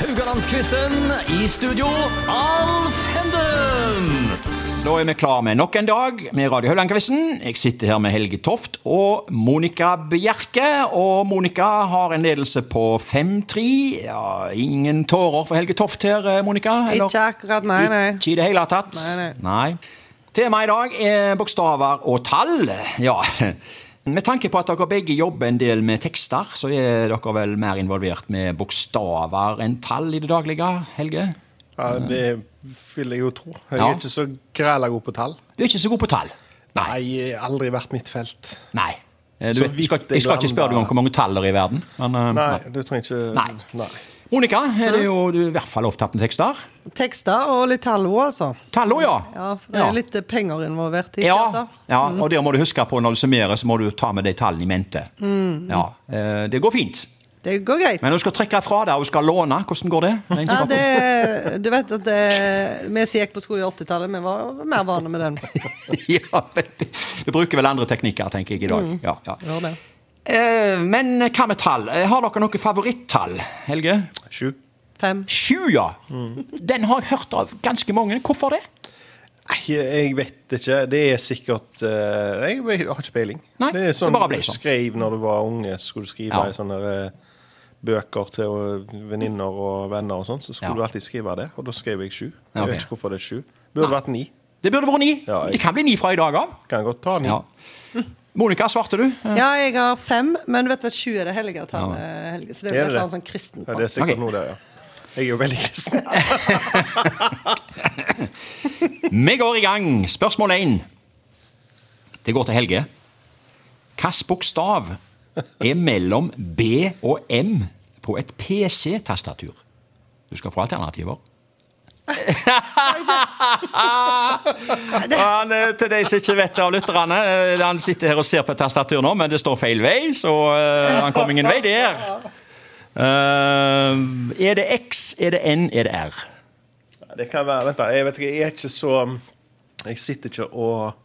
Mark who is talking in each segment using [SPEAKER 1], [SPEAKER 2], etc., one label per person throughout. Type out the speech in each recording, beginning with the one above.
[SPEAKER 1] Rogalandsquizen. I studio, Alf Henden.
[SPEAKER 2] Da er vi klar med nok en dag med Radio Haugland-quizen. Jeg sitter her med Helge Toft og Monica Bjerke. Og Monica har en ledelse på 5-3. Ja, ingen tårer for Helge Toft her, eh, Monica? eller?
[SPEAKER 3] Ikke akkurat, nei, nei.
[SPEAKER 2] Ikke i det hele tatt?
[SPEAKER 3] Nei,
[SPEAKER 2] Nei. Temaet i dag er bokstaver og tall. Ja. Med tanke på at dere begge jobber en del med tekster, så er dere vel mer involvert med bokstaver enn tall i det daglige, Helge?
[SPEAKER 4] Ja, det vil jeg jo tro. Jeg
[SPEAKER 2] Mm. Ja.
[SPEAKER 4] er ikke så græla god på tall.
[SPEAKER 2] Du er ikke så god på tall.
[SPEAKER 4] Nei, jeg har aldri vært mitt felt.
[SPEAKER 2] Nei. Eh, Du,
[SPEAKER 4] Så
[SPEAKER 2] vet, jeg, skal,
[SPEAKER 4] vidt jeg
[SPEAKER 2] jeg skal ikke spørre deg om
[SPEAKER 4] blander.
[SPEAKER 2] hvor mange tall det er i verden. Men, eh,
[SPEAKER 4] Nei, du trenger ikke
[SPEAKER 2] Nei.
[SPEAKER 4] Nei.
[SPEAKER 2] Monica, er det jo du er i hvert fall opptatt med tekster.
[SPEAKER 3] Tekster og litt hallo, altså.
[SPEAKER 2] Tallene, ja.
[SPEAKER 3] Ja, for det er litt eh, Mm. penger involvert i
[SPEAKER 2] Ja,
[SPEAKER 3] dette.
[SPEAKER 2] ja, og det må du huske på når du summerer, så må du ta med de tallene i mente.
[SPEAKER 3] Mm.
[SPEAKER 2] Ja, eh, det går fint.
[SPEAKER 3] Det går greit.
[SPEAKER 2] Men hun skal trekke fra deg, hun skal låne. Hvordan går det? Det er en som
[SPEAKER 3] Ja,
[SPEAKER 2] har-
[SPEAKER 3] det, du vet at det, vi som gikk på skole i 80-tallet, vi var mer vane med den.
[SPEAKER 2] ja, vet du. du bruker vel andre teknikker, tenker jeg, i
[SPEAKER 3] Mm.
[SPEAKER 2] dag. Ja, ja.
[SPEAKER 3] Gjør det.
[SPEAKER 2] Eh, men hva med tall? Eh, Har dere noe favorittall, Helge?
[SPEAKER 4] Sju.
[SPEAKER 3] Fem.
[SPEAKER 2] Sju, ja.
[SPEAKER 3] Mm.
[SPEAKER 2] Den har jeg hørt av ganske mange. Hvorfor det?
[SPEAKER 4] Nei, jeg vet ikke. Det er sikkert eh, Jeg vet- jeg har ikke peiling.
[SPEAKER 2] Nei,
[SPEAKER 4] det er sånn
[SPEAKER 2] det bare ble
[SPEAKER 4] du
[SPEAKER 2] sånn.
[SPEAKER 4] skrev når du var unge. Skulle du skrive
[SPEAKER 2] Ja.
[SPEAKER 4] i sånne eh, bøker til eh, venninner og venner og sånn, så skulle
[SPEAKER 2] Ja.
[SPEAKER 4] du alltid skrive det. Og da skrev jeg sju. Jeg
[SPEAKER 2] Ja, ok.
[SPEAKER 4] vet ikke hvorfor det er sju. Burde vært ni.
[SPEAKER 2] Det burde vært ni.
[SPEAKER 4] Ja, jeg-
[SPEAKER 2] Det kan bli ni fra i dag av.
[SPEAKER 4] Kan godt ta ni.
[SPEAKER 2] Ja. Monica, svarte du?
[SPEAKER 3] Ja, jeg har fem, men du vet at sju er det hellige tallet, Helge. Så det
[SPEAKER 4] Er
[SPEAKER 3] blir
[SPEAKER 4] det
[SPEAKER 3] sånn,
[SPEAKER 4] det?
[SPEAKER 3] sånn kristen
[SPEAKER 4] Ja,
[SPEAKER 3] på.
[SPEAKER 4] det er sikkert
[SPEAKER 2] Ok.
[SPEAKER 4] noe der, ja. Jeg er jo veldig kristen.
[SPEAKER 2] Vi går i gang. Spørsmål én. Det går til Helge. Hvilken bokstav er mellom B og M på et PC-tastatur? Du skal få alternativer. Han, eh, til de som ikke vet det av lytterne, eh, han sitter her og ser på et tastatur nå, men det står feil vei, så eh, han kom ingen vei der. Eh, er det X, er det N, er det R?
[SPEAKER 4] Det kan være, vent da, jeg vet ikke, jeg er ikke så um, Jeg sitter ikke og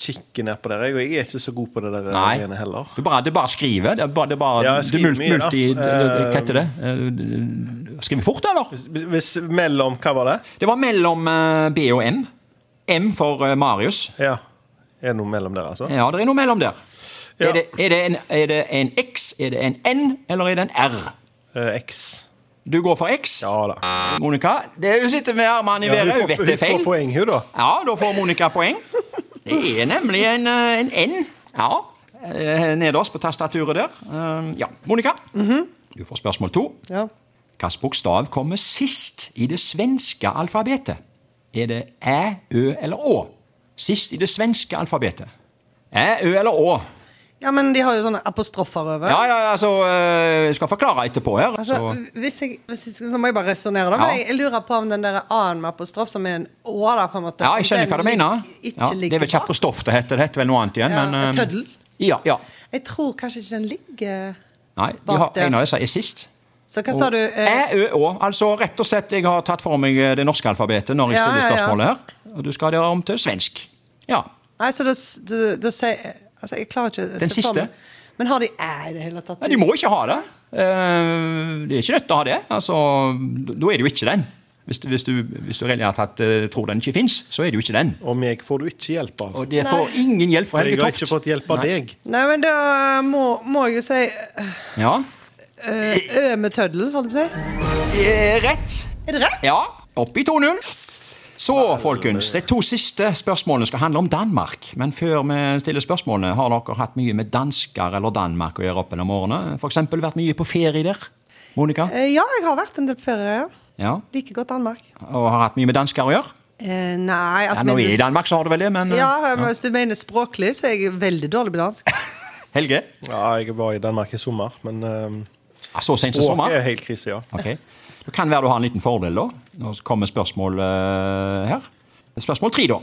[SPEAKER 4] kikker ned på det, jeg, og jeg er ikke så god på det der uh, greiene heller.
[SPEAKER 2] Du bare, det bare skriver. Det er bare, det er bare,
[SPEAKER 4] Ja, jeg skriver
[SPEAKER 2] du mul-
[SPEAKER 4] mye, da.
[SPEAKER 2] multi,
[SPEAKER 4] Eh,
[SPEAKER 2] Hva heter det? Eh, Skriver fort, eller?
[SPEAKER 4] Hvis mellom Hva var det?
[SPEAKER 2] Det var mellom eh, B og M. M for eh, Marius.
[SPEAKER 4] Ja. Er det noe mellom der, altså?
[SPEAKER 2] Ja, det er noe mellom der.
[SPEAKER 4] Ja.
[SPEAKER 2] Er, det, er, det en, er det en X, er det en N, eller er det en R?
[SPEAKER 4] Eh, X.
[SPEAKER 2] Du går for X,
[SPEAKER 4] Ja da.
[SPEAKER 2] Monica. Det er hun sitter med armene i været, hun
[SPEAKER 4] hun får,
[SPEAKER 2] vet det
[SPEAKER 4] hun
[SPEAKER 2] er feil.
[SPEAKER 4] får poeng, hun, da.
[SPEAKER 2] Ja, da får Monica poeng. Det er nemlig en, eh, en N. Ja. eh, Nederst på tastaturet der. Eh, Ja, Monica.
[SPEAKER 4] Mhm.
[SPEAKER 2] Du får spørsmål to.
[SPEAKER 3] Ja.
[SPEAKER 2] Hvilken bokstav kommer sist i det svenske alfabetet? Er det æ, ø eller å? Sist i det svenske alfabetet. Æ, ø eller å?
[SPEAKER 3] ja, men de har jo sånne apostrofer over.
[SPEAKER 2] Ja, ja, altså eh, Jeg skal forklare etterpå her.
[SPEAKER 3] Altså,
[SPEAKER 2] Så.
[SPEAKER 3] hvis jeg, hvis jeg, så må jeg bare resonnere, da. Men
[SPEAKER 2] Ja.
[SPEAKER 3] jeg, jeg lurer på om den der A-en med apostrof, som er en Å, da, på en måte
[SPEAKER 2] Ja, jeg skjønner hva du mener.
[SPEAKER 3] Ikke
[SPEAKER 2] Ja, det er vel
[SPEAKER 3] ligger
[SPEAKER 2] kjapt på stoff det heter. Det heter vel noe annet igjen,
[SPEAKER 3] Ja,
[SPEAKER 2] men eh,
[SPEAKER 3] tøddel.
[SPEAKER 2] Ja, ja.
[SPEAKER 3] Jeg tror kanskje ikke den ligger
[SPEAKER 2] Nei, vi
[SPEAKER 3] bak
[SPEAKER 2] har,
[SPEAKER 3] der.
[SPEAKER 2] en av disse er sist.
[SPEAKER 3] Så hva sa du? Eh,
[SPEAKER 2] Æ, ø, å. Altså rett og slett, jeg har tatt for meg eh, det norske alfabetet når jeg
[SPEAKER 3] Ja,
[SPEAKER 2] stiller
[SPEAKER 3] ja, ja.
[SPEAKER 2] spørsmålet her. Og du skal ha det om til svensk. Ja.
[SPEAKER 3] Nei, så da s- da- da sier Altså, jeg klarer ikke å
[SPEAKER 2] Den
[SPEAKER 3] se for meg.
[SPEAKER 2] siste?
[SPEAKER 3] Men har de æ i det hele tatt?
[SPEAKER 2] Nei, de må ikke ha det. Eh, Det er ikke nødt til å ha det. Altså, da da er det jo ikke den. Hvis du, hvis du, hvis du reelt tatt eh, tror den ikke fins, så er det jo ikke den.
[SPEAKER 4] Og meg får du ikke hjelp av.
[SPEAKER 2] Og det får ingen hjelp fra
[SPEAKER 4] For jeg
[SPEAKER 2] Helge
[SPEAKER 4] har ikke
[SPEAKER 2] Toft.
[SPEAKER 4] fått hjelp av deg.
[SPEAKER 3] Nei, men da må, må jeg jo si eh,
[SPEAKER 2] Ja.
[SPEAKER 3] Ø med tøddel, holdt jeg på å si.
[SPEAKER 2] Eh, Rett.
[SPEAKER 3] Er det rett?
[SPEAKER 2] Ja. Opp i 2-0. Så, folkens, de to siste spørsmålene skal handle om Danmark. Men før vi stiller spørsmålene, har dere hatt mye med dansker eller Danmark å gjøre opp gjennom årene? For eksempel vært mye på ferie der? Monica?
[SPEAKER 3] Eh, Ja, jeg har vært en del på ferie, ja.
[SPEAKER 2] Ja.
[SPEAKER 3] Liker godt Danmark.
[SPEAKER 2] Og har hatt mye med dansker å gjøre?
[SPEAKER 3] Eh, nei, altså
[SPEAKER 2] Ja, når vi er i
[SPEAKER 3] men,
[SPEAKER 2] Danmark, så har du vel det, men eh,
[SPEAKER 3] ja, da, men Hvis du mener språklig, så er jeg veldig dårlig på dansk.
[SPEAKER 2] eh, Helge?
[SPEAKER 4] Ja, jeg var i Danmark i sommer, men um,
[SPEAKER 2] Ja, så sent som sommer?
[SPEAKER 4] språket er helt krise, ja.
[SPEAKER 2] Ok. Det kan være du har en liten fordel, da. Nå kommer spørsmål eh, her. Spørsmål tre, da.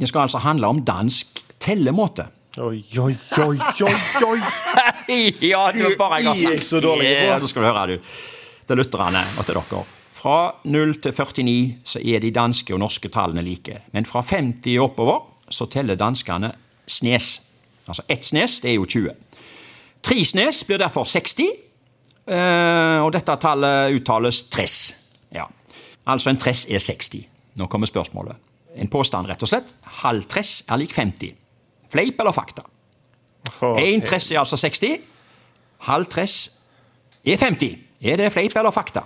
[SPEAKER 2] Det skal altså handle om dansk tellemåte.
[SPEAKER 4] Oi, oi, oi, oi, oi.
[SPEAKER 2] ja, det var bare jeg har
[SPEAKER 4] Det er jeg så dårlig på.
[SPEAKER 2] Ja, det skal du høre, du. Til lytterne og til dere. Fra 0 til 49 så er de danske og norske tallene like. Men fra 50 og oppover så teller danskene snes. Altså ett snes, det er jo 20. Tre snes blir derfor 60, eh, og dette tallet uttales tress. Altså en tress er 60. Nå kommer spørsmålet. En påstand, rett og slett. Halv tress er lik 50. Fleip eller fakta?
[SPEAKER 4] Åh,
[SPEAKER 2] Én tress er altså 60. Halv tress er 50. Er det fleip eller fakta?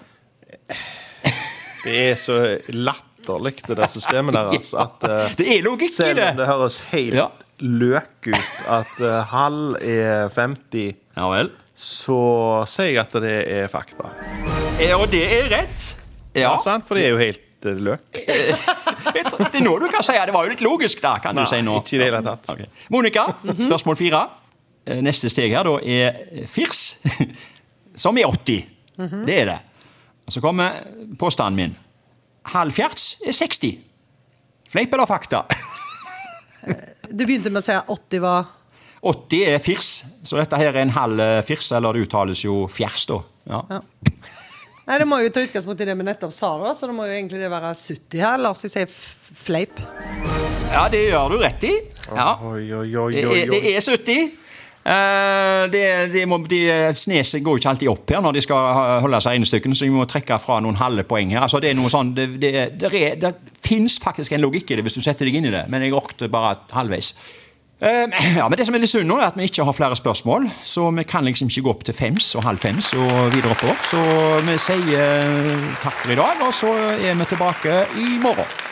[SPEAKER 4] Det er så latterlig, det der systemet der, altså. At, eh,
[SPEAKER 2] Det er logikk i
[SPEAKER 4] selv
[SPEAKER 2] det!
[SPEAKER 4] om det høres helt
[SPEAKER 2] Ja.
[SPEAKER 4] løk ut at eh, halv er 50,
[SPEAKER 2] Ja vel.
[SPEAKER 4] så sier jeg at det er fakta.
[SPEAKER 2] Ja, Og det er rett! Ja.
[SPEAKER 4] Ja, sant? For det er jo helt eh, løk.
[SPEAKER 2] Jeg tror- Det er nå du kan si ja, det var jo litt logisk, da, kan du
[SPEAKER 4] Nei,
[SPEAKER 2] si nå.
[SPEAKER 4] ikke i det hele tatt.
[SPEAKER 2] Ok. Monica, spørsmål fire. Eh, Neste steg her da er firs, som er 80.
[SPEAKER 4] Mhm.
[SPEAKER 2] Det er det. Og så kommer påstanden min. Halvfjerds er 60. Fleip eller fakta?
[SPEAKER 3] Du begynte med å si at 80 var
[SPEAKER 2] 80 er firs, så dette her er en halv eh, firs, eller det uttales jo fjers, da. Ja.
[SPEAKER 3] Nei, det må jo ta utgangspunkt i det vi nettopp sa, da, så det må jo egentlig det være 70 her. La oss si f- fleip.
[SPEAKER 2] ja, det gjør du rett i. Ja.
[SPEAKER 4] Oi, oi, oi,
[SPEAKER 2] Det
[SPEAKER 4] oi,
[SPEAKER 2] er,
[SPEAKER 4] oi.
[SPEAKER 2] det er 70. Eh, det, det må, de, Sneset går jo ikke alltid opp her når de skal ha- holde seg regnestykkene, så vi må trekke fra noen halve poeng her. Altså, det er noe sånn, det, det, det, er, det fins faktisk en logikk i det hvis du setter deg inn i det, men jeg orket bare halvveis. Eh, ja, men Det som er litt synd nå, er at vi ikke har flere spørsmål. Så vi kan liksom ikke gå opp til fems og halv fems og videre oppover. Så vi sier eh, takk for i dag, og så er vi tilbake i morgen.